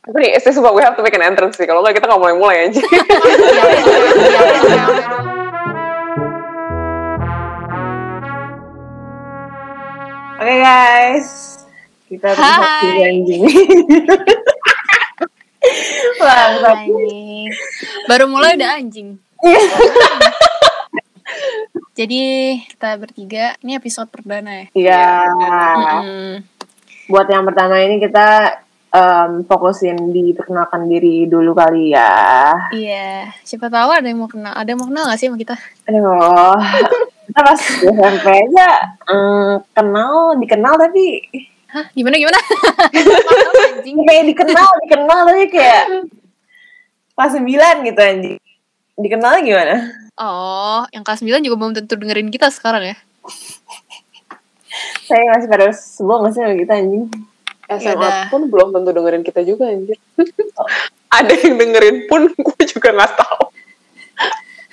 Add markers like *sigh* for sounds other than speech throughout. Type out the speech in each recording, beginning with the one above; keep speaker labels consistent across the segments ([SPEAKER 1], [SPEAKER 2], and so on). [SPEAKER 1] Tapi nih, saya sumpah we have to make an entrance sih. Kalau nggak kita nggak mulai-mulai
[SPEAKER 2] *laughs*
[SPEAKER 1] aja. Oke guys, kita
[SPEAKER 3] Hai.
[SPEAKER 1] bisa
[SPEAKER 3] *laughs*
[SPEAKER 1] anjing. Langsung.
[SPEAKER 3] Anjing. Baru mulai udah anjing. Jadi kita bertiga, ini episode perdana ya.
[SPEAKER 1] Iya.
[SPEAKER 2] Ah.
[SPEAKER 3] Mm-mm.
[SPEAKER 1] Buat yang pertama ini kita em, fokusin di perkenalkan diri dulu kali ya.
[SPEAKER 3] Iya, siapa tahu ada yang mau kenal, ada yang mau kenal gak sih sama kita? *laughs*
[SPEAKER 1] Aduh, kita pas di SMP aja em, kenal, dikenal tapi
[SPEAKER 3] Hah, gimana gimana?
[SPEAKER 2] *laughs*
[SPEAKER 3] anjing.
[SPEAKER 1] kayak dikenal, dikenal tapi kayak kelas 9 gitu anjing. Dikenal gimana?
[SPEAKER 3] Oh, yang kelas 9 juga belum tentu dengerin kita sekarang ya.
[SPEAKER 1] Saya masih pada sebelum masih sama kita anjing.
[SPEAKER 3] Yaudah.
[SPEAKER 2] SMA pun belum tentu dengerin kita juga anjir.
[SPEAKER 1] *laughs* Ada yang dengerin pun *laughs* gue juga nggak tahu.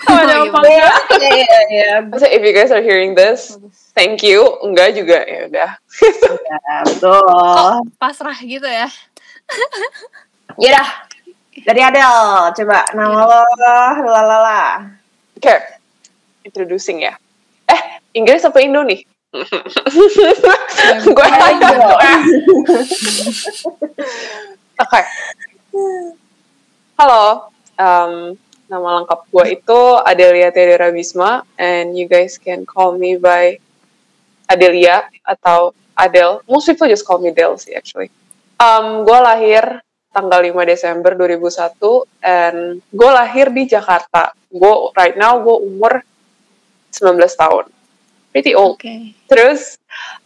[SPEAKER 2] Oh,
[SPEAKER 3] Gimana?
[SPEAKER 1] Iya, iya, iya.
[SPEAKER 2] Masa if you guys are hearing this, thank you. Enggak juga ya udah.
[SPEAKER 1] Ya, Betul.
[SPEAKER 3] Kok pasrah gitu ya?
[SPEAKER 1] Iya dah. Dari Adel, coba nama lo lalala.
[SPEAKER 2] Oke. Introducing ya. Eh, Inggris apa Indo
[SPEAKER 1] *laughs*
[SPEAKER 2] nih? Gue tanya
[SPEAKER 1] Indo.
[SPEAKER 2] tuh, eh. Oke. Halo. Um, nama lengkap gue itu Adelia Tedera Bisma and you guys can call me by Adelia atau Adel. Most people just call me Del sih actually. Um, gue lahir tanggal 5 Desember 2001 and gue lahir di Jakarta. Gue right now gue umur 19 tahun. Pretty old.
[SPEAKER 3] Oke.
[SPEAKER 2] Terus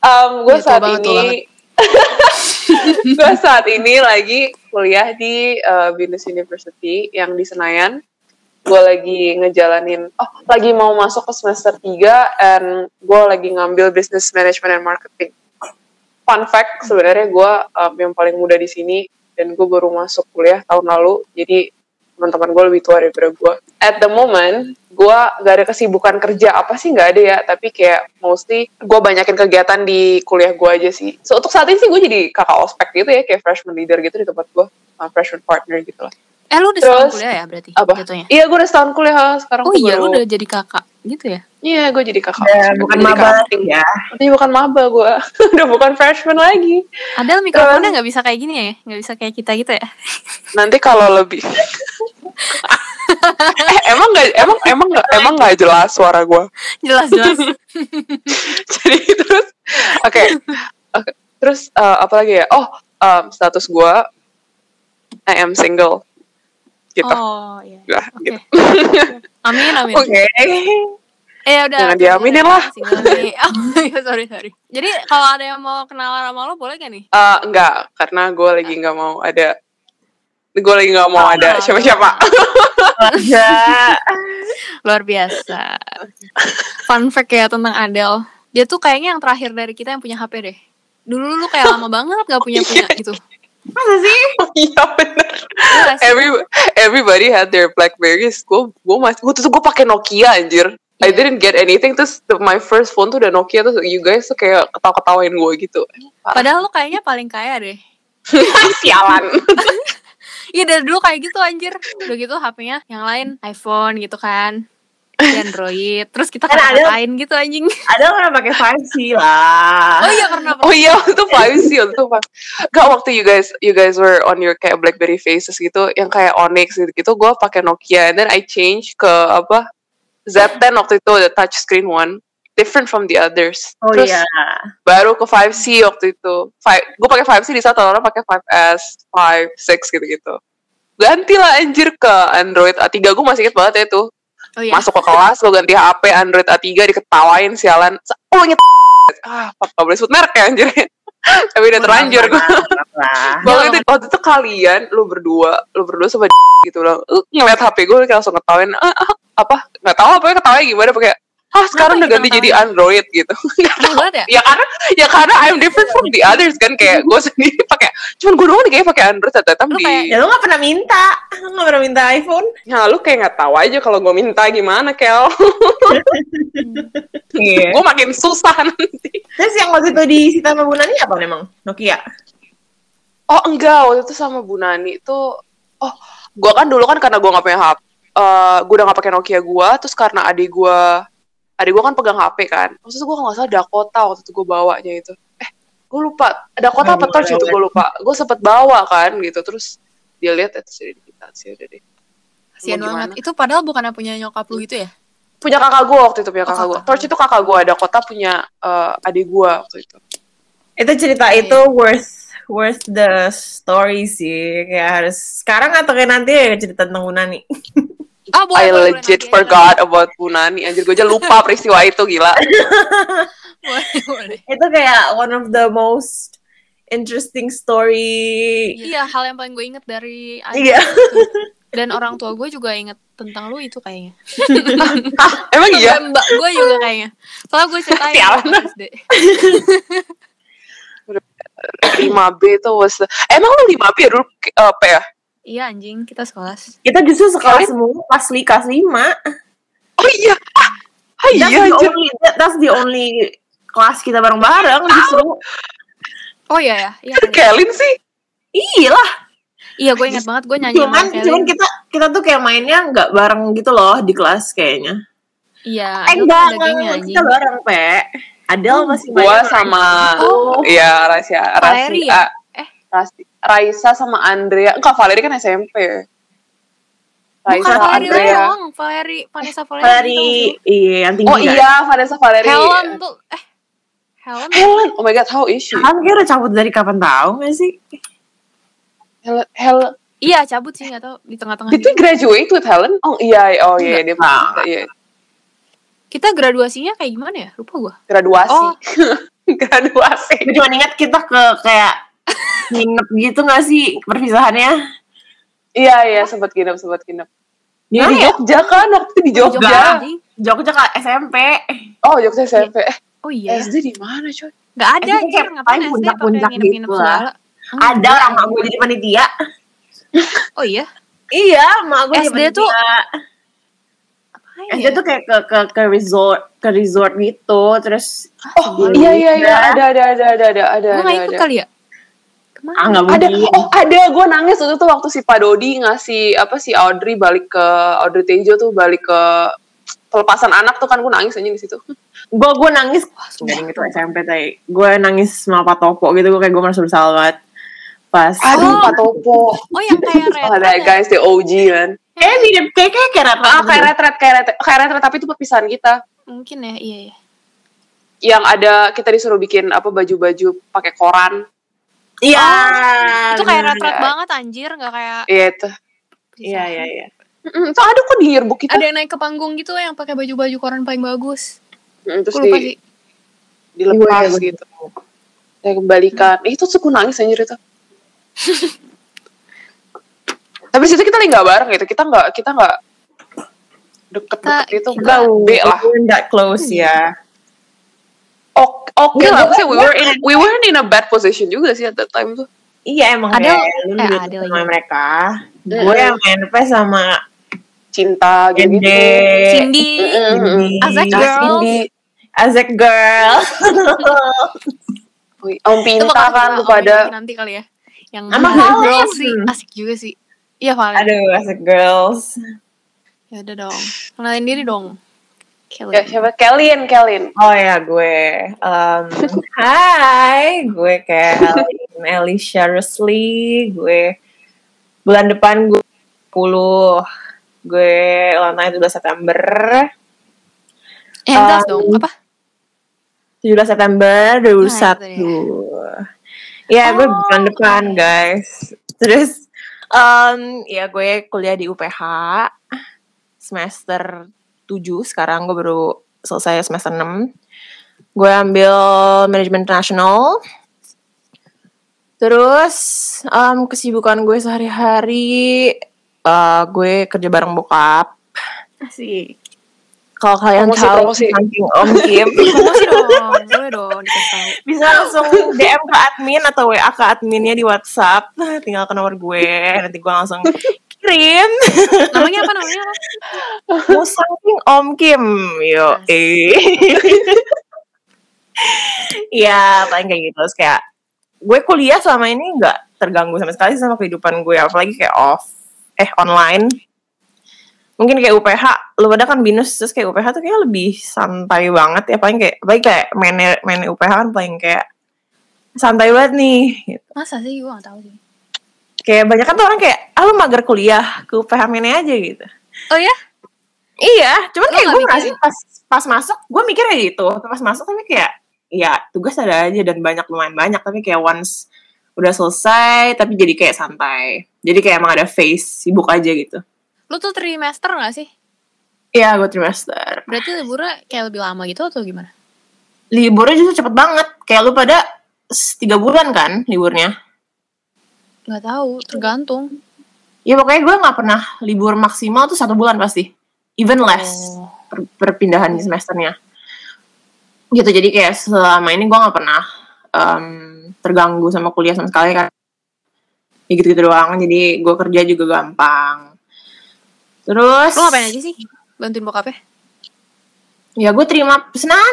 [SPEAKER 2] um, gue
[SPEAKER 3] Ya, tua
[SPEAKER 2] saat
[SPEAKER 3] banget, tua
[SPEAKER 2] ini *laughs* gue saat ini lagi kuliah di uh, Binus University yang di Senayan. Gue lagi ngejalanin, oh lagi mau masuk ke semester 3 and gue lagi ngambil Business Management and Marketing. Fun fact sebenarnya gue um, yang paling muda di sini dan gue baru masuk kuliah tahun lalu jadi teman-teman gue lebih tua daripada gue. At the moment, gue gak ada kesibukan kerja apa sih gak ada ya, tapi kayak mostly gue banyakin kegiatan di kuliah gue aja sih. So untuk saat ini sih gue jadi kakak ospek gitu ya, kayak freshman leader gitu di tempat gue, uh, freshman partner gitu lah.
[SPEAKER 3] Eh lu udah setahun
[SPEAKER 2] Terus,
[SPEAKER 3] kuliah ya berarti?
[SPEAKER 2] Apa?
[SPEAKER 3] Jatuhnya.
[SPEAKER 2] Iya gue udah setahun kuliah ha. sekarang.
[SPEAKER 3] Oh
[SPEAKER 2] tuh
[SPEAKER 3] iya,
[SPEAKER 2] baru-
[SPEAKER 3] lu udah jadi kakak gitu ya?
[SPEAKER 2] Iya gue jadi kakak.
[SPEAKER 1] Ya,
[SPEAKER 2] ospek,
[SPEAKER 1] bukan
[SPEAKER 2] jadi
[SPEAKER 1] maba
[SPEAKER 2] kakak acting.
[SPEAKER 1] ya.
[SPEAKER 2] Tapi bukan maba gue, *laughs* udah bukan freshman lagi.
[SPEAKER 3] Adel mikrofonnya nggak bisa kayak gini ya? Nggak bisa kayak kita gitu ya? *laughs*
[SPEAKER 2] Nanti kalau lebih. *laughs* eh, emang gak emang emang gak emang gak jelas suara gue.
[SPEAKER 3] jelas jelas.
[SPEAKER 2] *laughs* jadi terus oke oke. terus eh, apa lagi ya oh em, status gue I am single gitu
[SPEAKER 3] Oh iya.
[SPEAKER 2] Lah,
[SPEAKER 3] Oke.
[SPEAKER 2] gitu.
[SPEAKER 3] *laughs* Amin amin.
[SPEAKER 1] Oke.
[SPEAKER 3] Eh udah.
[SPEAKER 2] Jangan diaminin lah.
[SPEAKER 3] Single nih. *laughs* Oh, iya, sorry sorry. Jadi kalau ada yang mau kenalan sama lo boleh gak nih?
[SPEAKER 2] Eh, enggak karena gue lagi nggak mau ada gue lagi nggak mau ada
[SPEAKER 3] Ah, *laughs*
[SPEAKER 2] siapa-siapa
[SPEAKER 3] Iya.
[SPEAKER 1] Ya.
[SPEAKER 3] Luar biasa. Fun fact ya tentang Adel. Dia tuh kayaknya yang terakhir dari kita yang punya HP deh. Dulu lu kayak lama banget gak punya
[SPEAKER 2] *laughs*
[SPEAKER 3] punya gitu.
[SPEAKER 1] Masa sih?
[SPEAKER 2] iya bener
[SPEAKER 3] Iya gak sih?
[SPEAKER 2] every everybody had their blackberries gue gue masih gue tuh gue pakai Nokia anjir I
[SPEAKER 3] Iya.
[SPEAKER 2] didn't get anything terus the- my first phone tuh udah Nokia terus you guys tuh kayak ketawa-ketawain gue gitu
[SPEAKER 3] Padahal lu kayaknya paling kaya deh.
[SPEAKER 2] sialan
[SPEAKER 3] Iya dari dulu kayak gitu anjir. Udah gitu HP-nya yang lain iPhone gitu kan. Di Android. Terus kita
[SPEAKER 1] Kan Adel-
[SPEAKER 3] kata-katain gitu anjing. *laughs*
[SPEAKER 1] Ada orang kan pakai 5G lah.
[SPEAKER 3] Oh iya karena
[SPEAKER 2] Oh iya, *laughs* itu privacy itu pak. Gak waktu you guys you guys were on your kayak BlackBerry Faces gitu, yang kayak Onyx gitu gitu, gue pakai Nokia, and then I change ke apa Z10 waktu itu the touch screen one, different from the others.
[SPEAKER 1] Oh
[SPEAKER 2] Terus
[SPEAKER 1] iya.
[SPEAKER 2] baru ke 5C waktu itu. Gue pakai 5C di saat orang pakai 5S, 5, 6 gitu gitu. Gantilah anjir ke Android A3 gue masih inget banget ya itu.
[SPEAKER 3] Oh iya.
[SPEAKER 2] Masuk ke kelas lo ganti HP Android A3 diketawain sialan. Oh inget ah apa boleh sebut merek ya anjir. *laughs* Tapi udah terlanjur gue.
[SPEAKER 1] Lah.
[SPEAKER 2] Bahwa itu, waktu itu kalian, lu berdua, lu berdua sama *laughs* d- gitu loh. Lu ngeliat HP gue, lu kayak langsung ngetawain, ah, ah, apa, nggak tahu apa, ya ketawanya gimana, pakai, ah sekarang udah
[SPEAKER 3] kita
[SPEAKER 2] ganti jadi Android gitu. *laughs* Nggak
[SPEAKER 3] Aneh banget ya?
[SPEAKER 2] ya karena ya karena I'm different from the others kan
[SPEAKER 3] *laughs*
[SPEAKER 2] kayak gue sendiri pakai cuman gue doang nih kayaknya pakai Android ternyata
[SPEAKER 3] Lu
[SPEAKER 2] di
[SPEAKER 3] kayak-
[SPEAKER 1] Ya lu gak pernah minta. Lu gak pernah minta iPhone.
[SPEAKER 2] ya lu kayak nggak tahu aja kalau gue minta gimana Kel
[SPEAKER 1] Iya.
[SPEAKER 2] gue makin susah nanti
[SPEAKER 1] Terus yang waktu itu di Sita Mabunani apa memang? Nokia?
[SPEAKER 2] Oh enggak, waktu itu sama Bu Nani tuh. Oh, gue kan dulu kan karena gue nggak punya HP, eh gue udah nggak pakai Nokia gue. Terus karena adik gue, adik gue kan pegang HP kan. Terus gue nggak salah Dakota waktu itu gue bawanya itu. Eh, gue lupa Dakota
[SPEAKER 3] Nah,
[SPEAKER 2] apa Torch itu gue lupa. Gue sempet bawa kan gitu. Terus dia lihat itu sih kita sih udah deh.
[SPEAKER 3] Kasian
[SPEAKER 2] Mau gimana?
[SPEAKER 3] banget. Itu padahal bukan punya nyokap lu gitu ya?
[SPEAKER 2] Punya kakak gue waktu itu punya
[SPEAKER 3] Oh,
[SPEAKER 2] kakak gue.
[SPEAKER 3] kakak.
[SPEAKER 2] Torch itu kakak gue, Dakota punya eh, adik gue waktu itu.
[SPEAKER 1] Itu cerita
[SPEAKER 2] Iya.
[SPEAKER 3] Oke.
[SPEAKER 1] itu worth worth the story sih. Kayak harus sekarang atau kayak nanti ya cerita tentang Unani.
[SPEAKER 3] Ah, boleh,
[SPEAKER 2] I
[SPEAKER 3] boleh, boleh,
[SPEAKER 2] legit
[SPEAKER 3] nanti aja,
[SPEAKER 2] forgot about Bu Nani. Anjir gue aja lupa peristiwa itu
[SPEAKER 3] *laughs*
[SPEAKER 2] gila.
[SPEAKER 3] nanti. *laughs* Boleh, boleh.
[SPEAKER 1] *laughs* Itu kayak one of the most interesting story.
[SPEAKER 3] Iya, hal yang paling gue inget dari
[SPEAKER 1] Iya. *laughs*
[SPEAKER 3] Dan orang tua gue juga inget tentang lu itu kayaknya.
[SPEAKER 2] Emang iya?
[SPEAKER 3] Sampai mbak gue juga kayaknya. Soalnya gue
[SPEAKER 1] Iya,
[SPEAKER 3] ceritain
[SPEAKER 2] Sialan.
[SPEAKER 3] waktu SD.
[SPEAKER 2] lima B itu was the... emang lu lima B ya dulu K- eh, apa ya
[SPEAKER 3] Iya anjing, kita sekelas.
[SPEAKER 1] Kita justru sekolah
[SPEAKER 2] Kalian-
[SPEAKER 1] semua pas li kelas 5.
[SPEAKER 2] oh iya ah, ah
[SPEAKER 1] That's
[SPEAKER 2] iya
[SPEAKER 1] the
[SPEAKER 2] anjir.
[SPEAKER 1] only, that- that's the only kelas kita bareng-bareng justru.
[SPEAKER 3] Oh iya ya, iya. kali ya.
[SPEAKER 2] Kelin sih
[SPEAKER 1] Iya lah,
[SPEAKER 3] Iya, gue inget banget gue nyanyi sama
[SPEAKER 1] cuman
[SPEAKER 3] Kelly.
[SPEAKER 1] cuman kita kita tuh kayak mainnya nggak bareng gitu loh di kelas kayaknya.
[SPEAKER 3] Iya,
[SPEAKER 1] Eh
[SPEAKER 3] dulu
[SPEAKER 1] enggak,
[SPEAKER 3] ada
[SPEAKER 1] enggak,
[SPEAKER 3] gengnya,
[SPEAKER 1] enggak,
[SPEAKER 3] anjing.
[SPEAKER 1] kita bareng, Pe. Adel masih
[SPEAKER 2] gua sama
[SPEAKER 3] Oh.
[SPEAKER 2] iya Rasia
[SPEAKER 3] Valeri
[SPEAKER 2] Rasia
[SPEAKER 3] ya? Eh.
[SPEAKER 2] Rasi- Raisa sama Andrea enggak Valeri kan SMP
[SPEAKER 3] Bukan
[SPEAKER 2] Raisa
[SPEAKER 3] Valeri
[SPEAKER 2] Andrea
[SPEAKER 3] doang, Valeri, Vanessa Valeri.
[SPEAKER 1] Valeri, iya yang tinggi
[SPEAKER 2] oh
[SPEAKER 1] kan?
[SPEAKER 2] iya Vanessa Valeri
[SPEAKER 3] Helen tuh, eh. Helen,
[SPEAKER 2] Helen oh my god how is she
[SPEAKER 1] Kan dia udah cabut dari kapan tahu gak sih?
[SPEAKER 2] Helen Helen
[SPEAKER 3] iya cabut sih nggak tau di tengah-tengah.
[SPEAKER 2] did we
[SPEAKER 3] gitu.
[SPEAKER 2] graduate with Helen oh iya oh iya dia
[SPEAKER 1] Enggak.
[SPEAKER 2] iya
[SPEAKER 3] Kita graduasinya kayak gimana ya? Lupa gue.
[SPEAKER 2] graduasi
[SPEAKER 3] Oh.
[SPEAKER 2] *laughs* graduasi
[SPEAKER 1] Gue cuma ingat kita ke kayak nginep gitu gak sih perpisahannya?
[SPEAKER 2] iya iya sempat kinep sempat kinep
[SPEAKER 1] Dia
[SPEAKER 2] di
[SPEAKER 1] di
[SPEAKER 3] ya?
[SPEAKER 2] Jogja kan waktu itu di Jogja.
[SPEAKER 1] Jogja.
[SPEAKER 3] anjing.
[SPEAKER 1] ya? Jogja ke SMP.
[SPEAKER 2] Oh Jogja SMP. Eh,
[SPEAKER 3] Oh iya, ya.
[SPEAKER 2] SD di mana coy?
[SPEAKER 3] nggak ada.
[SPEAKER 1] Eh,
[SPEAKER 3] anjing,
[SPEAKER 1] kayak
[SPEAKER 3] ngapain
[SPEAKER 1] paling
[SPEAKER 3] SD
[SPEAKER 1] puncak-puncak
[SPEAKER 3] pakai nginep-nginep
[SPEAKER 1] gitu lah.
[SPEAKER 3] segala? Hmm,
[SPEAKER 1] Ada orang mak gue jadi panitia.
[SPEAKER 3] Oh iya,
[SPEAKER 1] Iya, mak gue jadi
[SPEAKER 3] SD tuh-
[SPEAKER 1] panitia.
[SPEAKER 3] Apaan
[SPEAKER 1] SD
[SPEAKER 3] ya?
[SPEAKER 1] tuh kayak ke, ke ke resort ke resort gitu terus
[SPEAKER 2] Oh
[SPEAKER 1] Iya.
[SPEAKER 2] iya iya iya ada ada ada ada ada ada.
[SPEAKER 3] Gue nggak
[SPEAKER 2] ada,
[SPEAKER 3] ikut
[SPEAKER 2] ada.
[SPEAKER 3] kali ya. Kemana?
[SPEAKER 1] ah nggak
[SPEAKER 2] Ada.
[SPEAKER 1] mungkin
[SPEAKER 2] Oh ada. Gue nangis waktu itu waktu si Pak Dodi ngasih apa si Audrey balik ke Audrey Tejo tuh balik ke pelepasan anak tuh kan gue nangis aja di situ.
[SPEAKER 1] gue gue nangis wah sumpah gitu, inget tuh SMP tadi gue nangis sama Pak Topo gitu gue kayak gue merasa bersalah banget pas
[SPEAKER 2] Aduh
[SPEAKER 3] Oh.
[SPEAKER 2] Pak Topo.
[SPEAKER 3] Oh yang kayak red.
[SPEAKER 2] Oh, ada guys the OG kan.
[SPEAKER 1] kayak mirip kayak kayak Oh, gitu.
[SPEAKER 2] Ah
[SPEAKER 1] kayak rata-rata
[SPEAKER 2] kayak retret kayak retret kayak retret tapi itu perpisahan kita.
[SPEAKER 3] Mungkin ya, iya ya.
[SPEAKER 2] Yang ada kita disuruh bikin apa baju-baju pakai koran.
[SPEAKER 1] gitu. iya
[SPEAKER 3] Itu kayak
[SPEAKER 1] bener.
[SPEAKER 3] retret banget anjir, nggak kayak
[SPEAKER 2] Iya itu.
[SPEAKER 1] iya iya iya
[SPEAKER 2] Mm-mm, Itu ada kok di yearbook kita.
[SPEAKER 3] ada yang naik ke panggung gitu yang pakai baju-baju koran paling bagus.
[SPEAKER 2] Mm, Terus
[SPEAKER 3] Gue
[SPEAKER 2] di,
[SPEAKER 3] lupa sih.
[SPEAKER 2] dilepas
[SPEAKER 1] Iya, iya,
[SPEAKER 2] gitu saya kembalikan Eh, itu suku nangis anjir itu tapi situ kita lagi nggak bareng gitu kita nggak kita nggak deket-deket
[SPEAKER 3] Kita-
[SPEAKER 2] itu
[SPEAKER 1] kita
[SPEAKER 2] B lah
[SPEAKER 1] we're not close
[SPEAKER 3] Hmm.
[SPEAKER 1] ya
[SPEAKER 2] oke oke lah
[SPEAKER 1] Nggak, nggak,
[SPEAKER 2] maksudnya we
[SPEAKER 1] nggak.
[SPEAKER 2] were in we weren't in a bad position juga sih at that time tuh
[SPEAKER 1] iya emang
[SPEAKER 3] Ada-
[SPEAKER 1] kayak lu
[SPEAKER 3] eh,
[SPEAKER 1] deket
[SPEAKER 3] ada
[SPEAKER 1] sama
[SPEAKER 3] lagi.
[SPEAKER 1] mereka
[SPEAKER 2] Mm-mm.
[SPEAKER 1] gue yang main PS sama
[SPEAKER 2] cinta gitu
[SPEAKER 1] Ende Eh,
[SPEAKER 3] Cindy,
[SPEAKER 1] Cindy.
[SPEAKER 3] Azek Oh.
[SPEAKER 2] Nah,
[SPEAKER 3] Girls.
[SPEAKER 2] Cindy,
[SPEAKER 1] Azek girl
[SPEAKER 2] Wih, Om
[SPEAKER 3] itu
[SPEAKER 2] Pinta
[SPEAKER 3] bakal
[SPEAKER 2] kan
[SPEAKER 3] kita
[SPEAKER 2] kepada
[SPEAKER 3] omongin nanti kali ya. Yang
[SPEAKER 1] Sama
[SPEAKER 3] *laughs* Girls
[SPEAKER 1] Valen.
[SPEAKER 3] sih asik juga sih. Iya Valen.
[SPEAKER 1] Aduh, as a girls.
[SPEAKER 3] Ya udah dong. Kenalin diri dong. Kelly.
[SPEAKER 2] ya, siapa Kelin Kelin
[SPEAKER 1] Oh ya gue.
[SPEAKER 3] *laughs*
[SPEAKER 1] Um, hai, gue Kel. Alicia Rusli. Gue bulan depan gue 10. Gue ulang tahun 17 September.
[SPEAKER 3] Eh, jelas
[SPEAKER 1] Um,
[SPEAKER 3] dong. Apa?
[SPEAKER 1] 17 September 2001.
[SPEAKER 3] Nah, itu
[SPEAKER 1] Ya, gue
[SPEAKER 3] Oh,
[SPEAKER 1] bulan depan,
[SPEAKER 3] oke.
[SPEAKER 1] guys. Terus um, ya gue kuliah di UPH semester 7 sekarang gue baru selesai semester 6. Gue ambil manajemen internasional. Terus um, kesibukan gue sehari-hari uh, gue kerja bareng bokap.
[SPEAKER 3] Asik.
[SPEAKER 1] Kalau kalian
[SPEAKER 2] Promosi,
[SPEAKER 1] tahu
[SPEAKER 2] promosi.
[SPEAKER 1] samping Om Kim
[SPEAKER 3] Promosi dong. Boleh dong dikasih tahu.
[SPEAKER 1] bisa langsung DM ke admin atau WA ke adminnya di WhatsApp. Nah, Tinggal ke nomor gue, nanti gue langsung kirim.
[SPEAKER 3] Namanya apa namanya apa?
[SPEAKER 1] Musangking Om Kim, yo. eh. Iya, paling kayak gitu. Terus kayak gue kuliah selama ini nggak terganggu sama sekali sama kehidupan gue apalagi kayak off eh online mungkin kayak UPH lu pada kan binus terus kayak UPH tuh kayak lebih santai banget ya paling kayak baik kayak mainnya mainnya UPH kan paling kayak santai banget nih gitu.
[SPEAKER 3] Masa sih gue gak tau sih.
[SPEAKER 1] kayak banyak kan tuh orang kayak ah lu mager kuliah ke UPH mainnya aja gitu
[SPEAKER 3] Oh ya?
[SPEAKER 1] Iya, cuman
[SPEAKER 3] Lo
[SPEAKER 1] kayak
[SPEAKER 3] nggak
[SPEAKER 1] gue
[SPEAKER 3] mikirin?
[SPEAKER 1] ngerasa pas pas masuk, gue mikirnya gitu. Pas masuk tapi kayak ya tugas ada aja dan banyak lumayan banyak tapi kayak once udah selesai tapi jadi kayak santai. Jadi kayak emang ada phase sibuk aja gitu.
[SPEAKER 3] Lu tuh trimester gak sih?
[SPEAKER 1] Iya, gue trimester.
[SPEAKER 3] Berarti liburnya kayak lebih lama gitu atau gimana?
[SPEAKER 1] Liburnya justru cepet banget. Kayak lu pada s- tiga bulan kan liburnya.
[SPEAKER 3] Gak tahu, tergantung.
[SPEAKER 1] Ya pokoknya gue nggak pernah libur maksimal tuh satu bulan pasti. Even less.
[SPEAKER 3] Oh.
[SPEAKER 1] per- perpindahan di semesternya gitu jadi kayak selama ini gue nggak pernah em, terganggu sama kuliah sama sekali kan ya gitu gitu doang jadi gue kerja juga gampang terus
[SPEAKER 3] Lu ngapain aja sih? Bantuin bokapnya?
[SPEAKER 1] ya gue terima pesanan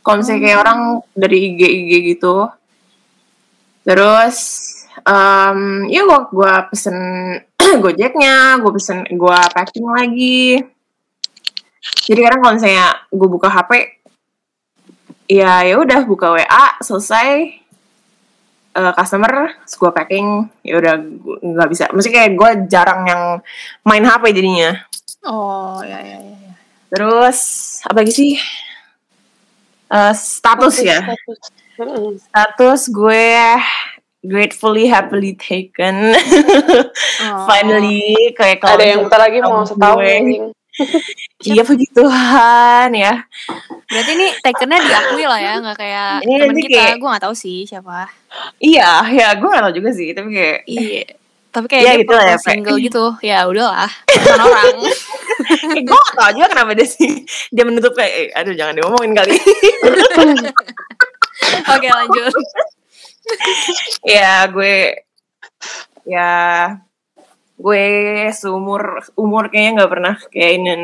[SPEAKER 1] kalau misalnya kayak orang dari IG IG gitu terus em, ya gue gue pesen *clears throat* gojeknya gue pesen gue packing lagi jadi kadang kalau misalnya gue buka HP ya ya udah buka WA selesai eh, customer terus gue packing ya udah gua- nggak bisa maksudnya kayak gue jarang yang main HP jadinya
[SPEAKER 3] Oh, ya ya ya. ya.
[SPEAKER 1] Terus apa lagi sih? Eh, status ya.
[SPEAKER 2] Mm-mm.
[SPEAKER 1] Status gue gratefully happily taken. *laughs*
[SPEAKER 3] Oh.
[SPEAKER 1] Finally kayak kalau
[SPEAKER 2] Ada yang bentar lagi mau setahun
[SPEAKER 1] Gue.
[SPEAKER 2] anjing.
[SPEAKER 1] Iya puji Tuhan ya.
[SPEAKER 3] Berarti ini takennya diakui lah ya, nggak kayak
[SPEAKER 1] Ini
[SPEAKER 3] teman
[SPEAKER 1] nanti
[SPEAKER 3] kita.
[SPEAKER 1] kayak-
[SPEAKER 3] Gue nggak tahu sih siapa.
[SPEAKER 1] Iya, ya gue gak tau juga sih, tapi kayak
[SPEAKER 3] Iya. Tapi kayak
[SPEAKER 1] Iya,
[SPEAKER 3] dia
[SPEAKER 1] gitu lah ya,
[SPEAKER 3] pernah single
[SPEAKER 1] Pak.
[SPEAKER 3] gitu. Ya
[SPEAKER 1] *laughs*
[SPEAKER 3] udahlah, bukan orang.
[SPEAKER 1] eh, gue gak tau juga kenapa dia sih dia menutup kayak, eh, aduh jangan diomongin kali.
[SPEAKER 3] Oke lanjut.
[SPEAKER 1] ya gue, ya gue seumur umur kayaknya nggak pernah kayak in an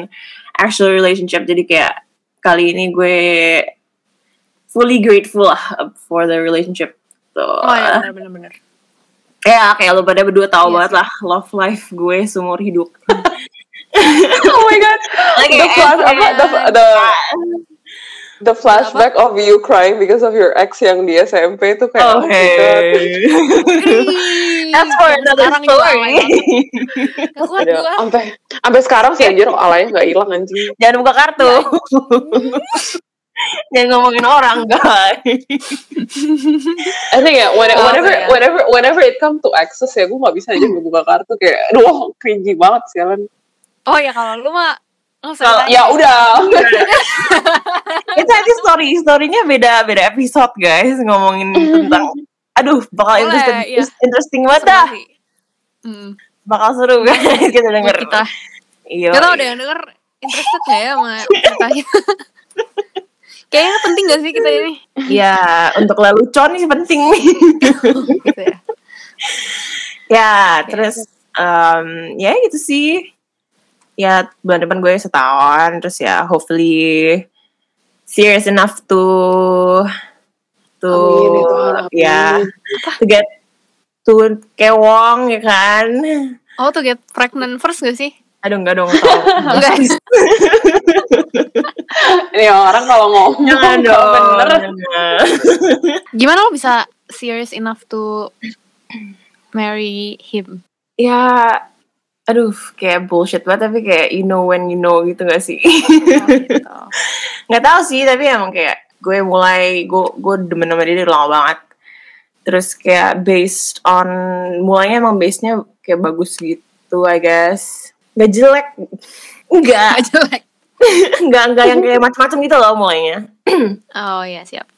[SPEAKER 1] actual relationship jadi kayak kali ini gue fully grateful lah for the relationship tuh
[SPEAKER 3] Oh ya benar benar benar.
[SPEAKER 1] ya kayak lo pada berdua tahu
[SPEAKER 3] Iya
[SPEAKER 1] banget lah love life gue seumur *laughs* hidup
[SPEAKER 2] Oh my god.
[SPEAKER 1] Lagi *laughs*
[SPEAKER 2] the flash
[SPEAKER 1] eh,
[SPEAKER 2] apa the, the the flashback of you crying because of your ex yang di SMP itu kayak oh,
[SPEAKER 1] oh
[SPEAKER 2] my
[SPEAKER 1] *laughs*
[SPEAKER 2] God.
[SPEAKER 1] hey that's for
[SPEAKER 3] Yang
[SPEAKER 1] another
[SPEAKER 3] sekarang juga alay
[SPEAKER 1] story
[SPEAKER 3] banget.
[SPEAKER 1] *laughs*
[SPEAKER 3] Gak kuat
[SPEAKER 2] Aduh,
[SPEAKER 3] gue.
[SPEAKER 2] sampai sampai sekarang sih anjir alaynya nggak hilang anjing.
[SPEAKER 1] jangan buka kartu *laughs* jangan ngomongin orang guys
[SPEAKER 2] I think ya, when-
[SPEAKER 3] Oh,
[SPEAKER 2] whenever,
[SPEAKER 3] iya.
[SPEAKER 2] whenever, whenever it come to access ya, gue gak bisa aja buka kartu kayak, aduh, cringy banget sialan.
[SPEAKER 3] Oh ya kalau lu mah nggak usah
[SPEAKER 1] Kalau-
[SPEAKER 3] ditanya.
[SPEAKER 2] Ya udah. *laughs*
[SPEAKER 1] itu nanti story storynya beda beda episode guys ngomongin tentang aduh bakal
[SPEAKER 3] Boleh,
[SPEAKER 1] interesting,
[SPEAKER 3] iya.
[SPEAKER 1] interesting banget
[SPEAKER 3] Seru
[SPEAKER 1] dah
[SPEAKER 3] sih. Mm.
[SPEAKER 1] bakal seru guys kita denger
[SPEAKER 3] Buat kita.
[SPEAKER 1] iya
[SPEAKER 3] Gak tau ada yang denger interested gak ya sama kita *laughs* Kayaknya penting gak sih kita
[SPEAKER 1] *laughs*
[SPEAKER 3] ini?
[SPEAKER 1] ya untuk lelucon ini penting nih *laughs*
[SPEAKER 3] gitu ya.
[SPEAKER 1] ya terus em, ya gitu sih ya bulan depan gue setahun terus ya hopefully serious enough to to
[SPEAKER 2] Amin, ya Tuhan, amin.
[SPEAKER 1] ya to get to kewong ya kan
[SPEAKER 3] Oh tuh get pregnant first gak sih?
[SPEAKER 1] Aduh enggak dong *laughs* tolong.
[SPEAKER 3] Enggak.
[SPEAKER 2] Ini orang kalau ngomong
[SPEAKER 1] Jangan dong.
[SPEAKER 2] bener.
[SPEAKER 1] jangan.
[SPEAKER 3] Gimana lo bisa serious enough to marry
[SPEAKER 1] *laughs*
[SPEAKER 3] him?
[SPEAKER 1] Ya aduh kayak bullshit banget tapi kayak you know when you know gitu gak sih? *laughs*
[SPEAKER 3] Oh, gitu.
[SPEAKER 1] nggak tahu sih tapi emang kayak gue mulai gue gue demen sama dia dari lama banget terus kayak based on mulanya emang base nya kayak bagus gitu I guess nggak jelek nggak
[SPEAKER 3] Gak jelek.
[SPEAKER 1] nggak nggak yang kayak macam-macam gitu loh mulainya
[SPEAKER 3] Oh iya siap.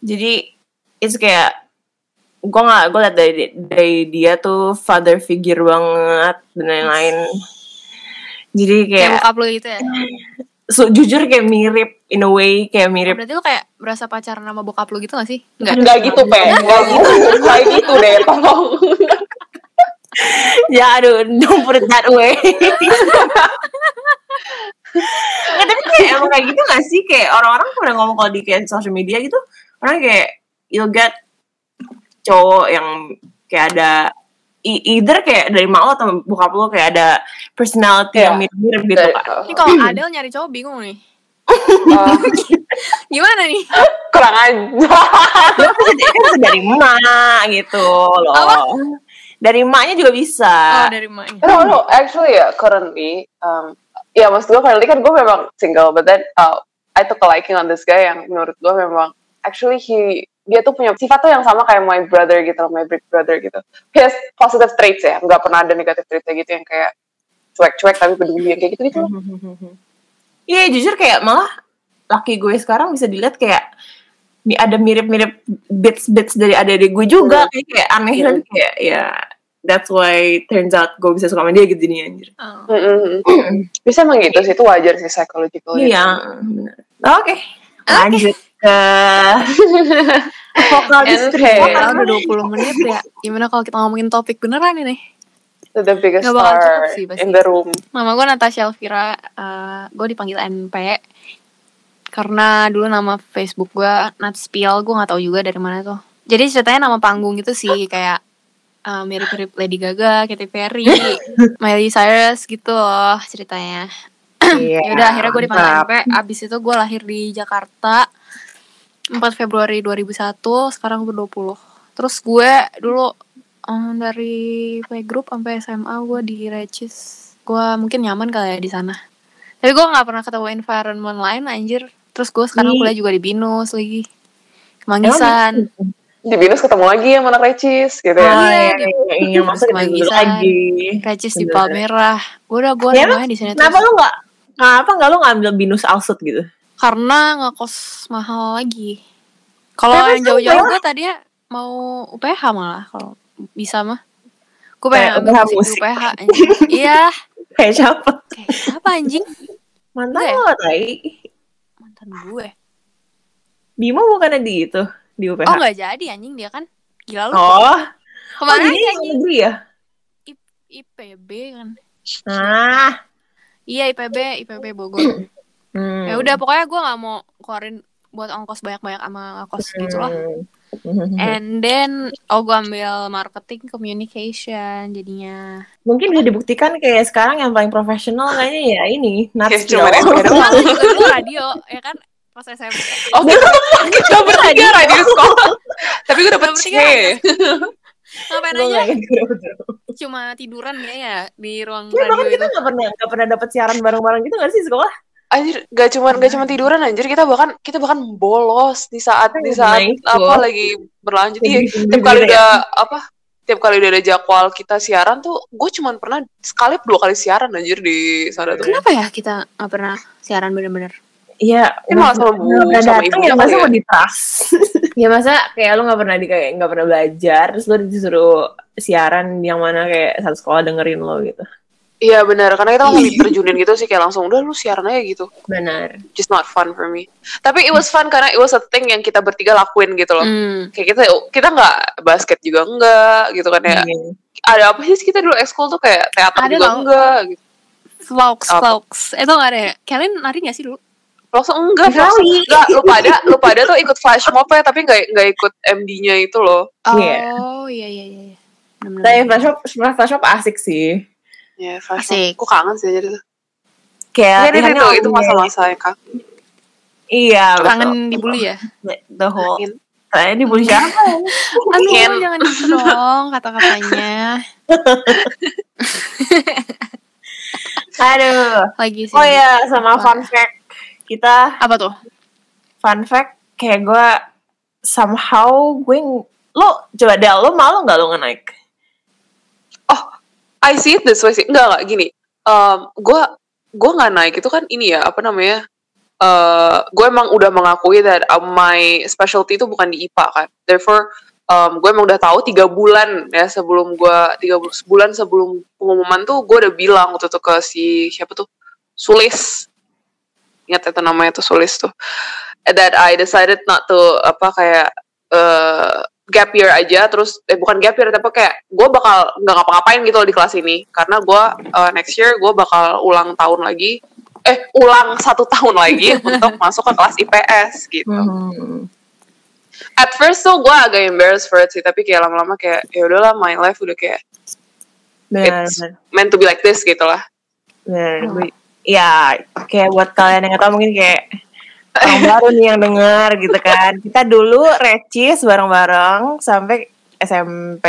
[SPEAKER 1] jadi it's kayak gue nggak gue liat dari, dari dia tuh father figure banget dan lain-lain jadi kayak
[SPEAKER 3] Kayak bokap lo gitu ya?
[SPEAKER 1] so, jujur kayak mirip in a way kayak mirip
[SPEAKER 3] Berarti lo kayak berasa pacaran sama bokap lo gitu gak sih? Enggak.
[SPEAKER 2] Enggak gitu, Pe. Enggak gitu.
[SPEAKER 1] *laughs*
[SPEAKER 2] Kayak gitu deh, tolong.
[SPEAKER 1] ya aduh don't put it that way Nggak, tapi kayak emang kayak gitu gak sih kayak orang-orang pernah ngomong kalau di kayak social media gitu orang kayak you'll get cowok yang kayak ada e- either kayak dari mak lo atau bokap lo kayak ada personality
[SPEAKER 2] Iya.
[SPEAKER 1] yang mirip-mirip gitu
[SPEAKER 2] Dari-
[SPEAKER 1] kan.
[SPEAKER 3] Ini kalau Adel nyari cowok bingung nih.
[SPEAKER 2] Eh,
[SPEAKER 3] Gimana nih?
[SPEAKER 2] kurang aja.
[SPEAKER 1] Lo kan bisa- kan bisa dari
[SPEAKER 3] *laughs*
[SPEAKER 1] emak gitu loh.
[SPEAKER 3] Apa?
[SPEAKER 1] Dari emaknya juga bisa.
[SPEAKER 3] Oh dari emaknya.
[SPEAKER 2] No, no, actually ya, currently, um, ya maksud gue currently kan gue memang single, but then uh, I took a liking on this guy yang menurut gue memang, actually he, dia tuh punya sifat tuh yang sama kayak my brother gitu, my big brother gitu. He has positive traits ya, nggak pernah ada negative traitsnya gitu yang kayak cuek-cuek tapi peduli yang kayak gitu-gitu. loh.
[SPEAKER 1] Iya jujur kayak malah laki gue sekarang bisa dilihat kayak mi- ada mirip-mirip bits-bits dari adik-adik gue juga kayak, kayak aneh
[SPEAKER 2] Hmm.
[SPEAKER 1] dan kayak ya that's why turns out gue bisa suka sama dia gitu jadinya anjir.
[SPEAKER 3] Oh.
[SPEAKER 2] Mm-mm. *clears throat* Bisa emang gitu sih, itu wajar sih psychological.
[SPEAKER 1] Iya. bener. Oke. Lanjut ke vokal
[SPEAKER 2] And
[SPEAKER 1] distrik.
[SPEAKER 2] hair.
[SPEAKER 3] Kita Eh, udah 20 menit ya. Gimana kalau kita ngomongin topik beneran ini?
[SPEAKER 2] The biggest
[SPEAKER 3] Nggak bakal
[SPEAKER 2] star
[SPEAKER 3] cukup sih, pasti.
[SPEAKER 2] in the room.
[SPEAKER 3] Nama gue Natasha Elvira. gue dipanggil NP karena dulu nama Facebook gue Natspiel. Gue nggak tahu juga dari mana tuh. Jadi ceritanya nama panggung gitu sih kayak eh, mirip-mirip Lady Gaga, Katy *laughs* Perry, Miley Cyrus gitu loh ceritanya.
[SPEAKER 1] Iya.
[SPEAKER 3] Ya udah akhirnya gue dipanggil
[SPEAKER 1] Mantap.
[SPEAKER 3] MP. Abis itu gue lahir di Jakarta 4 Februari 2001, sekarang gue 20. Terus gue dulu em, dari playgroup sampai SMA gue di Regis. Gue mungkin nyaman kali ya di sana. Tapi gue nggak pernah ketemu environment lain anjir. Terus gue sekarang
[SPEAKER 1] Ih.
[SPEAKER 3] kuliah juga di Binus lagi.
[SPEAKER 1] Emang
[SPEAKER 3] Manggisan.
[SPEAKER 2] Di Binus ketemu lagi sama anak Recis gitu
[SPEAKER 1] Oh,
[SPEAKER 2] ya.
[SPEAKER 1] iya,
[SPEAKER 3] di-
[SPEAKER 1] iya, iya, yang masuk
[SPEAKER 3] Mas
[SPEAKER 1] itu
[SPEAKER 3] Magisan.
[SPEAKER 1] lagi.
[SPEAKER 3] Regis di
[SPEAKER 1] Bener.
[SPEAKER 3] Palmerah. Udah gue
[SPEAKER 1] Ya,
[SPEAKER 3] rumahnya di sini
[SPEAKER 1] Kenapa
[SPEAKER 3] terus.
[SPEAKER 1] lu nggak kenapa nggak lu ngambil binus alsut gitu?
[SPEAKER 3] Karena ngekos mahal lagi. Kalau
[SPEAKER 1] Kenapa
[SPEAKER 3] yang
[SPEAKER 1] sih,
[SPEAKER 3] jauh-jauh
[SPEAKER 1] Bel?
[SPEAKER 3] gue tadinya mau UPH malah kalau bisa mah. Gue
[SPEAKER 1] Kayak
[SPEAKER 3] pengen ambil
[SPEAKER 1] UPH
[SPEAKER 3] musik, di
[SPEAKER 1] musik. *laughs*
[SPEAKER 3] UPH anjing. iya,
[SPEAKER 1] Kayak siapa?
[SPEAKER 3] kayak siapa anjing?
[SPEAKER 1] Mantan
[SPEAKER 3] Iya.
[SPEAKER 1] lo, Tai.
[SPEAKER 3] Mantan gue.
[SPEAKER 1] Bimo bukannya di itu di UPH.
[SPEAKER 3] Oh nggak jadi anjing dia kan. Gila lu.
[SPEAKER 1] Oh, oh,
[SPEAKER 3] Kemana
[SPEAKER 1] jadi
[SPEAKER 3] aja
[SPEAKER 1] yang
[SPEAKER 3] anjing?
[SPEAKER 1] negeri ya?
[SPEAKER 3] IPB kan.
[SPEAKER 1] Ah.
[SPEAKER 3] Iya IPB, IPB
[SPEAKER 1] *clears throat*
[SPEAKER 3] Bogor.
[SPEAKER 1] Hmm.
[SPEAKER 3] ya udah pokoknya gue nggak mau keluarin buat ongkos banyak-banyak sama ngekos gitu lah. Eh.
[SPEAKER 1] Hmm.
[SPEAKER 3] And then oh gue ambil marketing communication jadinya.
[SPEAKER 1] Mungkin bisa dibuktikan kayak sekarang yang paling profesional kayaknya ya ini Nats
[SPEAKER 2] cuma
[SPEAKER 1] doang. *laughs*
[SPEAKER 2] SMP *laughs* doang.
[SPEAKER 3] Malah juga dulu radio ya kan pas SMP.
[SPEAKER 2] Oh, kita gak bertiga radio *laughs* sekolah. Tapi gue dapet
[SPEAKER 3] Gak
[SPEAKER 2] C.
[SPEAKER 3] bertiga Ngapain
[SPEAKER 1] Gua
[SPEAKER 3] aja?
[SPEAKER 1] nggak ingat berapa dulu.
[SPEAKER 3] Cuma tiduran ya ya di ruang
[SPEAKER 1] Ya, bahkan
[SPEAKER 3] radio
[SPEAKER 1] kita
[SPEAKER 3] itu.
[SPEAKER 1] nggak pernah nggak pernah dapat siaran bareng-bareng gitu nggak sih di sekolah?
[SPEAKER 2] Anjir, gak cuma gak cuma tiduran anjir, kita bahkan kita bahkan bolos di saat di saat
[SPEAKER 1] Nice,
[SPEAKER 2] apa
[SPEAKER 1] loh.
[SPEAKER 2] lagi berlanjut. Iya,
[SPEAKER 1] Briefing-briefing
[SPEAKER 2] tiap kali
[SPEAKER 1] gitu ya.
[SPEAKER 2] udah apa tiap kali udah ada jadwal kita siaran tuh gue cuma pernah sekali dua kali siaran anjir di sana tuh.
[SPEAKER 3] Kenapa ya kita nggak pernah siaran bener-bener?
[SPEAKER 1] Iya,
[SPEAKER 2] Ini malah sama Bu,
[SPEAKER 1] nggak pernah
[SPEAKER 2] sama
[SPEAKER 1] datang
[SPEAKER 2] ibunya
[SPEAKER 1] ya
[SPEAKER 2] kali
[SPEAKER 1] masa
[SPEAKER 2] ya?
[SPEAKER 1] mau ditras? *laughs* ya masa kayak lu nggak pernah di kayak nggak pernah belajar, terus lu disuruh siaran yang mana kayak satu sekolah dengerin lo gitu.
[SPEAKER 2] Iya benar, karena kita langsung diterjunin gitu sih kayak langsung udah lu siaran aja gitu.
[SPEAKER 1] Benar.
[SPEAKER 2] Just not fun for me. Tapi it was fun karena it was a thing yang kita bertiga lakuin gitu loh.
[SPEAKER 3] Hmm.
[SPEAKER 2] Kayak kita kita nggak basket juga enggak gitu kan ya.
[SPEAKER 1] Iya.
[SPEAKER 2] ada apa sih kita dulu ekskul tuh kayak teater
[SPEAKER 3] Ada
[SPEAKER 2] juga
[SPEAKER 3] tau.
[SPEAKER 2] enggak gitu.
[SPEAKER 3] Vlogs,
[SPEAKER 2] Apa?
[SPEAKER 3] vlogs. Eh tau gak ada ya? Kalian nari gak sih dulu?
[SPEAKER 2] Langsung enggak,
[SPEAKER 1] Kali.
[SPEAKER 2] langsung enggak. Lu pada lu pada tuh ikut flash mob ya tapi enggak enggak ikut MD-nya itu loh.
[SPEAKER 1] Iya.
[SPEAKER 3] Oh iya iya iya. iya. Bener-bener.
[SPEAKER 1] Tapi flash mob, flash mob asik sih.
[SPEAKER 2] Ya, flash
[SPEAKER 3] Asik. Iya,
[SPEAKER 2] mob. Gue kangen sih jadi tuh.
[SPEAKER 1] Kayak
[SPEAKER 2] Jadi itu, itu,
[SPEAKER 1] lihatnya
[SPEAKER 2] itu
[SPEAKER 1] orang-
[SPEAKER 2] masa-masa yang kangen.
[SPEAKER 1] Iya,
[SPEAKER 3] Kangen
[SPEAKER 1] betul.
[SPEAKER 3] dibully ya?
[SPEAKER 1] The whole.
[SPEAKER 2] Kangen.
[SPEAKER 1] Saya dibully siapa?
[SPEAKER 3] Aduh
[SPEAKER 2] Kangen.
[SPEAKER 3] jangan gitu dong kata-katanya.
[SPEAKER 1] *laughs* Aduh.
[SPEAKER 3] Lagi sih.
[SPEAKER 1] Oh ya, sama fun fact kita
[SPEAKER 3] Apa tuh?
[SPEAKER 1] fun fact kayak gue somehow gue ng- lo coba deh lo malu nggak lo nge-naik?
[SPEAKER 2] I see it this way sih. Enggak, enggak gini. Um, gue gue nggak naik itu kan ini ya apa namanya? Eh, gue emang udah mengakui that uh, my specialty itu bukan di IPA kan. Therefore, um, gue emang udah tahu tiga bulan ya sebelum gue tiga bul- sebulan sebelum pengumuman tuh gue udah bilang waktu itu ke si siapa tuh Sulis. Ingat itu namanya tuh Sulis tuh. That I decided not to apa kayak eh gap year aja terus eh bukan gap year tapi kayak gue bakal nggak ngapa-ngapain gitu loh di kelas ini karena gue eh, next year gue bakal ulang tahun lagi eh
[SPEAKER 1] Mm-hmm. Hmm.
[SPEAKER 2] ulang satu tahun lagi untuk masuk ke kelas IPS gitu at first tuh gue agak embarrassed for it sih tapi kayak lama-lama kayak ya udahlah my life udah kayak
[SPEAKER 1] benar
[SPEAKER 2] it's meant to be like this gitu lah
[SPEAKER 1] benar Gue- ya kayak buat kalian yang nggak tahu mungkin kayak orang baru nih yang denger gitu kan kita dulu recis bareng-bareng sampai SMP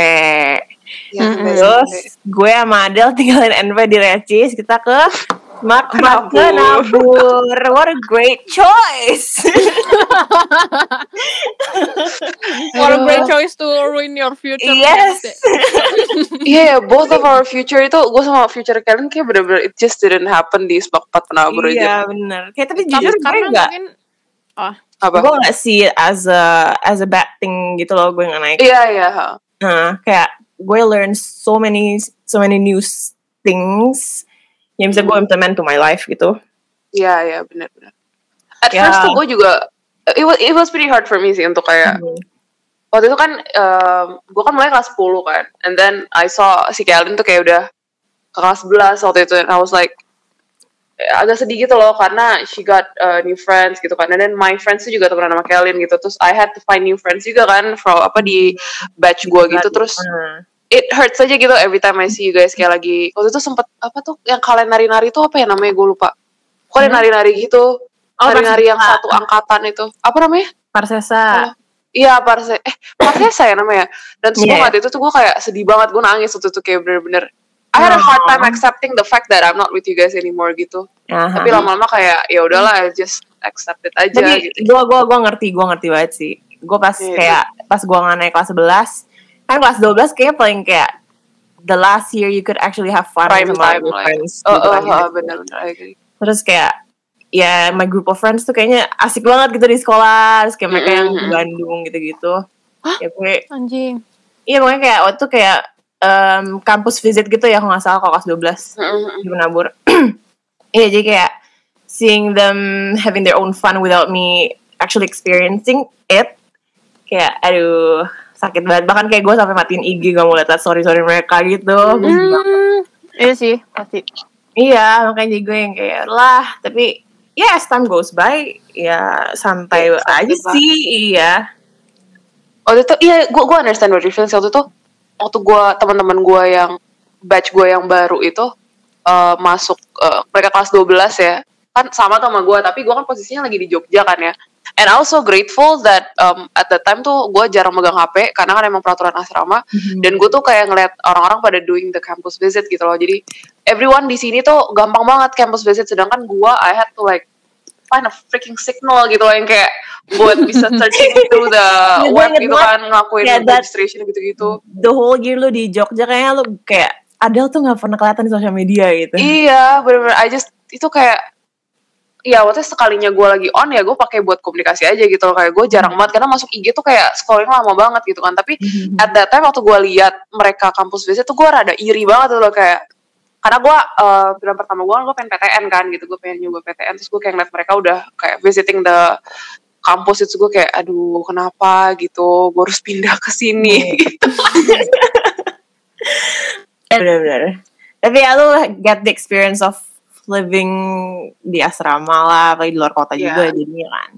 [SPEAKER 2] Ya,
[SPEAKER 1] gitu.
[SPEAKER 3] Mm-mm.
[SPEAKER 2] sampai-
[SPEAKER 1] terus gue sama Adel tinggalin NV di recis kita ke Mak Mak
[SPEAKER 2] Nabur.
[SPEAKER 1] ke Nabur What a great choice
[SPEAKER 3] What a great choice to ruin your future.
[SPEAKER 1] *laughs* Yes
[SPEAKER 2] Iya, yeah, both of our future itu gue sama future kalian kayak bener-bener it just didn't happen di sepak empat gitu. penabur aja.
[SPEAKER 1] Iya bener Kayak tapi
[SPEAKER 3] Tapi kan
[SPEAKER 1] jujur gue
[SPEAKER 3] karena
[SPEAKER 1] gak
[SPEAKER 3] mungkin ah
[SPEAKER 2] Apa?
[SPEAKER 1] Gue gak see it as a As a bad thing gitu loh Gue gak naik
[SPEAKER 2] Iya iya. ha.
[SPEAKER 1] Nah, kayak gue learn so many so many new s- things yang bisa
[SPEAKER 2] Hmm.
[SPEAKER 1] gue implement to my life gitu.
[SPEAKER 2] Iya iya benar-benar. At
[SPEAKER 1] Ya.
[SPEAKER 2] first tuh gue juga it was, it was pretty hard for me sih untuk kayak
[SPEAKER 1] Hmm.
[SPEAKER 2] waktu itu kan um, gue kan mulai kelas 10 kan and then I saw si Calvin tuh kayak udah ke kelas 11 waktu itu and I was like eh, agak sedih gitu loh karena she got uh, new friends gitu kan and then my friends tuh juga temenan sama Calvin gitu terus I had to find new friends juga kan from apa di batch gue gitu terus
[SPEAKER 1] Nah,
[SPEAKER 2] it hurts aja gitu every time I see you guys kayak lagi waktu itu sempet apa tuh yang kalian nari-nari tuh apa ya namanya gue lupa kok ada nari-nari gitu nari-nari yang
[SPEAKER 1] Parsesa.
[SPEAKER 2] satu angkatan itu apa namanya
[SPEAKER 1] Parsesa.
[SPEAKER 2] iya parse eh parse saya namanya dan terus gue
[SPEAKER 1] Iya.
[SPEAKER 2] ngeliat itu tuh gue kayak sedih banget gue nangis waktu itu kayak bener-bener I had a hard time
[SPEAKER 1] Oh.
[SPEAKER 2] accepting the fact that I'm not with you guys anymore gitu
[SPEAKER 1] Aha.
[SPEAKER 2] tapi lama-lama kayak ya udahlah I just accept it aja
[SPEAKER 1] Tapi
[SPEAKER 2] gitu
[SPEAKER 1] gue gua gua ngerti, gue ngerti banget sih. Gue pas
[SPEAKER 2] Iya.
[SPEAKER 1] kayak pas gue nggak naik kelas 11, kan kelas 12 kayaknya paling kayak the last year you could actually have fun
[SPEAKER 2] prime
[SPEAKER 1] sama
[SPEAKER 2] time
[SPEAKER 1] your
[SPEAKER 2] like
[SPEAKER 1] friends
[SPEAKER 2] oh,
[SPEAKER 1] gitu
[SPEAKER 2] oh,
[SPEAKER 1] kan.
[SPEAKER 2] oh, bener-bener I agree.
[SPEAKER 1] terus kayak ya my group of friends tuh kayaknya asik banget gitu di sekolah terus kayak mereka yang ke
[SPEAKER 2] Mm-mm.
[SPEAKER 1] Bandung gitu-gitu ya gue
[SPEAKER 3] anjing.
[SPEAKER 1] iya pokoknya kayak waktu itu kayak em, kampus visit gitu ya kalau nggak salah kalau kelas 12
[SPEAKER 2] Mm-mm.
[SPEAKER 1] di Menabur *clears throat* iya jadi kayak seeing them having their own fun without me actually experiencing it kayak aduh sakit banget bahkan kayak gue sampai matiin IG gak mau liat story story mereka gitu Gue
[SPEAKER 3] Hmm, iya sih pasti.
[SPEAKER 1] Iya, makanya jadi gue yang kayak lah, tapi ya as time goes by, ya santai
[SPEAKER 2] Ya, santai
[SPEAKER 1] aja
[SPEAKER 2] banget.
[SPEAKER 1] sih, iya.
[SPEAKER 2] waktu itu iya gue gue understand what you feel sih. waktu itu waktu gue teman-teman gue yang batch gue yang baru itu eh, masuk eh, mereka kelas 12 ya kan sama tuh sama gue tapi gue kan posisinya lagi di Jogja kan ya and I was so grateful that um, at the time tuh gue jarang megang HP karena kan emang peraturan asrama dan gue tuh kayak ngeliat orang-orang pada doing the campus visit gitu loh jadi everyone di sini tuh gampang banget campus visit sedangkan gue I had to like find a freaking signal gitu loh yang kayak buat
[SPEAKER 1] *laughs*
[SPEAKER 2] bisa searching through the
[SPEAKER 1] gue
[SPEAKER 2] web
[SPEAKER 1] inget
[SPEAKER 2] gitu
[SPEAKER 1] Iya, banget.
[SPEAKER 2] kan ngelakuin
[SPEAKER 1] Yeah, that-
[SPEAKER 2] registration gitu-gitu
[SPEAKER 1] The whole year lu di Jogja kayaknya lu kayak Adele tuh gak pernah kelihatan di sosial media gitu.
[SPEAKER 2] iya bener-bener I just itu kayak Iya, waktu sekalinya gue lagi on ya gue pakai buat komunikasi aja gitu loh kayak gue jarang
[SPEAKER 1] Hmm.
[SPEAKER 2] banget karena masuk IG tuh kayak scrolling lama banget gitu kan tapi
[SPEAKER 1] Mhm.
[SPEAKER 2] at that time waktu gue lihat mereka kampus biasa tuh gue rada iri banget tuh loh kayak karena gue eh bulan pertama gue gue pengen PTN kan gitu gue pengen nyoba PTN terus gue kayak ngeliat mereka udah kayak visiting the kampus itu gue kayak aduh kenapa gitu gue harus pindah ke
[SPEAKER 3] Iya,
[SPEAKER 2] sini *laughs* gitu
[SPEAKER 1] Bener-bener. Tapi ya lu get the experience of living di asrama lah, apalagi di luar kota
[SPEAKER 2] Iya.
[SPEAKER 1] juga jadinya kan.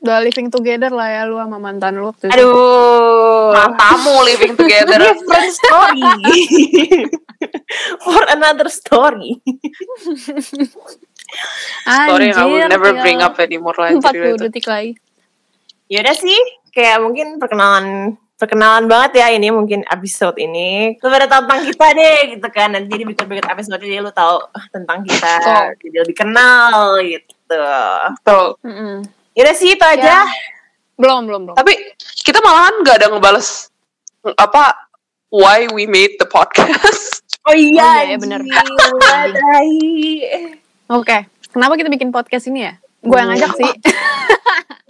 [SPEAKER 3] Udah living together lah ya lu sama mantan lu waktu itu.
[SPEAKER 1] Aduh.
[SPEAKER 2] matamu living
[SPEAKER 3] Iya,
[SPEAKER 2] together
[SPEAKER 1] Different story. For another story.
[SPEAKER 2] story yang I will
[SPEAKER 3] Anjir, ya
[SPEAKER 2] never
[SPEAKER 3] tinggal
[SPEAKER 2] bring up anymore lah gitu. jadi
[SPEAKER 3] 40
[SPEAKER 2] itu.
[SPEAKER 3] detik lagi.
[SPEAKER 1] Ya udah sih, kayak mungkin perkenalan perkenalan banget ya ini mungkin episode ini. Lu pada tahu tentang kita deh gitu kan. Nanti di berikut-berikut episode jadi lu tahu tentang kita.
[SPEAKER 2] Betul.
[SPEAKER 1] Jadi lebih kenal gitu.
[SPEAKER 2] Betul.
[SPEAKER 3] Mm-mm.
[SPEAKER 1] Ya udah sih itu aja.
[SPEAKER 3] Belum, belum, belum.
[SPEAKER 2] tapi kita malahan nggak ada ngebales apa why we made the podcast *laughs*
[SPEAKER 1] Oh iya,
[SPEAKER 3] Oh iya, ya bener.
[SPEAKER 1] anjing. Wadahi.
[SPEAKER 3] Oke, kenapa kita bikin podcast ini ya? Gue yang ngajak *laughs* sih.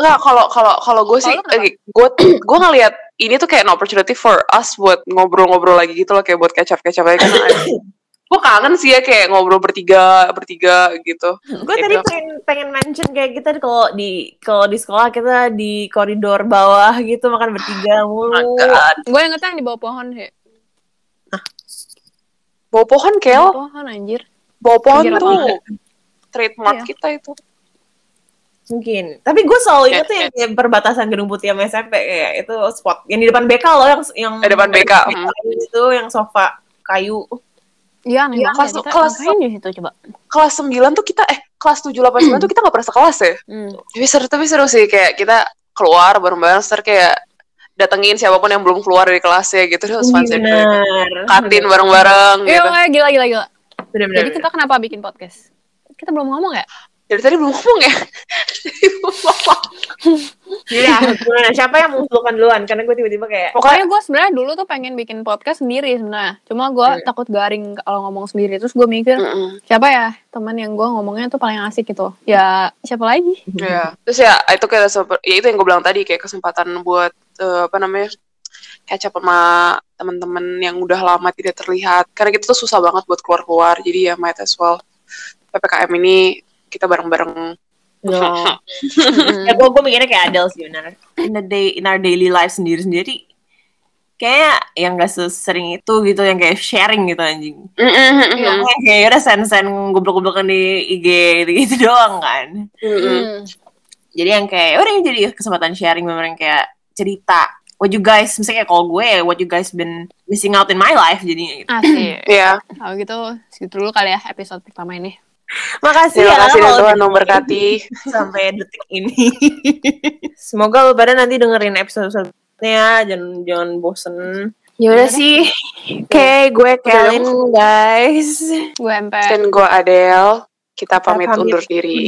[SPEAKER 2] nggak kalau kalau kalau gue sih
[SPEAKER 3] Kalau lu
[SPEAKER 2] gue gue ngelihat ini tuh kayak an opportunity for us buat ngobrol-ngobrol lagi gitu loh kayak buat catch up catch up *coughs* lagi karena gue kangen sih ya kayak ngobrol bertiga bertiga gitu
[SPEAKER 1] Gue
[SPEAKER 2] Kayak
[SPEAKER 1] tadi
[SPEAKER 2] bilang,
[SPEAKER 1] pengen pengen mention kayak kita kalau di kalau di sekolah kita di koridor bawah gitu makan bertiga
[SPEAKER 2] "Oh my
[SPEAKER 1] mulu.
[SPEAKER 2] God,
[SPEAKER 3] Gue yang ngetang di bawah pohon sih.
[SPEAKER 2] bawa pohon
[SPEAKER 3] Di
[SPEAKER 2] kel
[SPEAKER 3] bawah pohon anjir.
[SPEAKER 2] bawa pohon
[SPEAKER 3] Pinggir
[SPEAKER 2] tuh trademark
[SPEAKER 3] Iya.
[SPEAKER 2] kita itu
[SPEAKER 1] mungkin tapi gue selalu ingat tuh yang yang perbatasan gedung putih sama SMP kayak itu spot yang di depan BK loh yang yang
[SPEAKER 2] Di depan BK, hmm.
[SPEAKER 1] itu yang sofa kayu
[SPEAKER 3] Iya, aneh
[SPEAKER 2] Iya,
[SPEAKER 3] banget.
[SPEAKER 2] kelas-
[SPEAKER 3] ya, kita
[SPEAKER 2] kelas-
[SPEAKER 3] ngapain di situ coba.
[SPEAKER 2] kelas 9 tuh kita eh kelas 7 8 9 tuh kita nggak pernah sekelas ya.
[SPEAKER 3] Hmm.
[SPEAKER 2] Tapi seru tapi seru sih kayak kita keluar bareng-bareng ter kayak datengin siapapun yang belum keluar dari kelasnya gitu terus fun sih. Kantin bareng-bareng
[SPEAKER 3] Iya,
[SPEAKER 2] gitu.
[SPEAKER 3] gila gila gila.
[SPEAKER 1] benar-benar
[SPEAKER 3] Jadi kita kenapa bikin podcast? Kita belum ngomong ya?
[SPEAKER 2] Dari tadi belum ngomong ya. Dari belum ngomong.
[SPEAKER 1] Iya, gimana? Siapa yang mengusulkan duluan? Karena gue tiba-tiba kayak *laughs*
[SPEAKER 3] Pokoknya gue sebenarnya dulu tuh pengen bikin podcast sendiri sebenarnya. Cuma gue takut garing kalau ngomong sendiri. Terus gue mikir
[SPEAKER 2] Mm-mm.
[SPEAKER 3] siapa ya teman yang gue ngomongnya tuh paling asik gitu. Ya siapa lagi?
[SPEAKER 2] Iya. Terus ya itu kayak sempat- ya itu yang gue bilang tadi kayak kesempatan buat eh, apa namanya catch up sama teman-teman yang udah lama tidak terlihat karena kita tuh susah banget buat keluar-keluar jadi ya might as well ppkm ini kita *laughs* bareng-bareng
[SPEAKER 3] *laughs*
[SPEAKER 1] ya.
[SPEAKER 3] Mm-mm.
[SPEAKER 1] gue gue mikirnya kayak Adele sih benar. In the day in our daily life sendiri-sendiri kayak yang gak sesering itu gitu yang kayak sharing gitu anjing.
[SPEAKER 2] Mm-mm.
[SPEAKER 1] Kayak kayak udah sen-sen goblok-goblokan di IG gitu *laughs* doang kan.
[SPEAKER 2] Mm-mm.
[SPEAKER 3] Mm.
[SPEAKER 1] Jadi yang kayak ya udah ini jadi kesempatan sharing memang yang kayak cerita what you guys misalnya kayak kalau gue what you guys been missing out in my life jadinya gitu.
[SPEAKER 3] Asik.
[SPEAKER 2] Iya,
[SPEAKER 3] Kalau gitu segitu dulu kali ya episode pertama ini.
[SPEAKER 1] Makasih
[SPEAKER 2] terima
[SPEAKER 1] ya
[SPEAKER 2] kasih dan
[SPEAKER 1] kalau
[SPEAKER 2] Tuhan memberkati.
[SPEAKER 1] sampai detik *laughs* ini. Semoga lo pada nanti dengerin episode selanjutnya, jangan jangan bosen. Ya udah sih. Oke, gue Kelin guys.
[SPEAKER 3] Gue MP.
[SPEAKER 2] Dan gue Adele, kita
[SPEAKER 1] Kita
[SPEAKER 2] pamit
[SPEAKER 1] pamit
[SPEAKER 2] undur
[SPEAKER 1] Iya.
[SPEAKER 2] diri.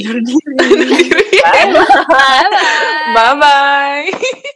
[SPEAKER 1] Bye.
[SPEAKER 2] *laughs* Bye-bye.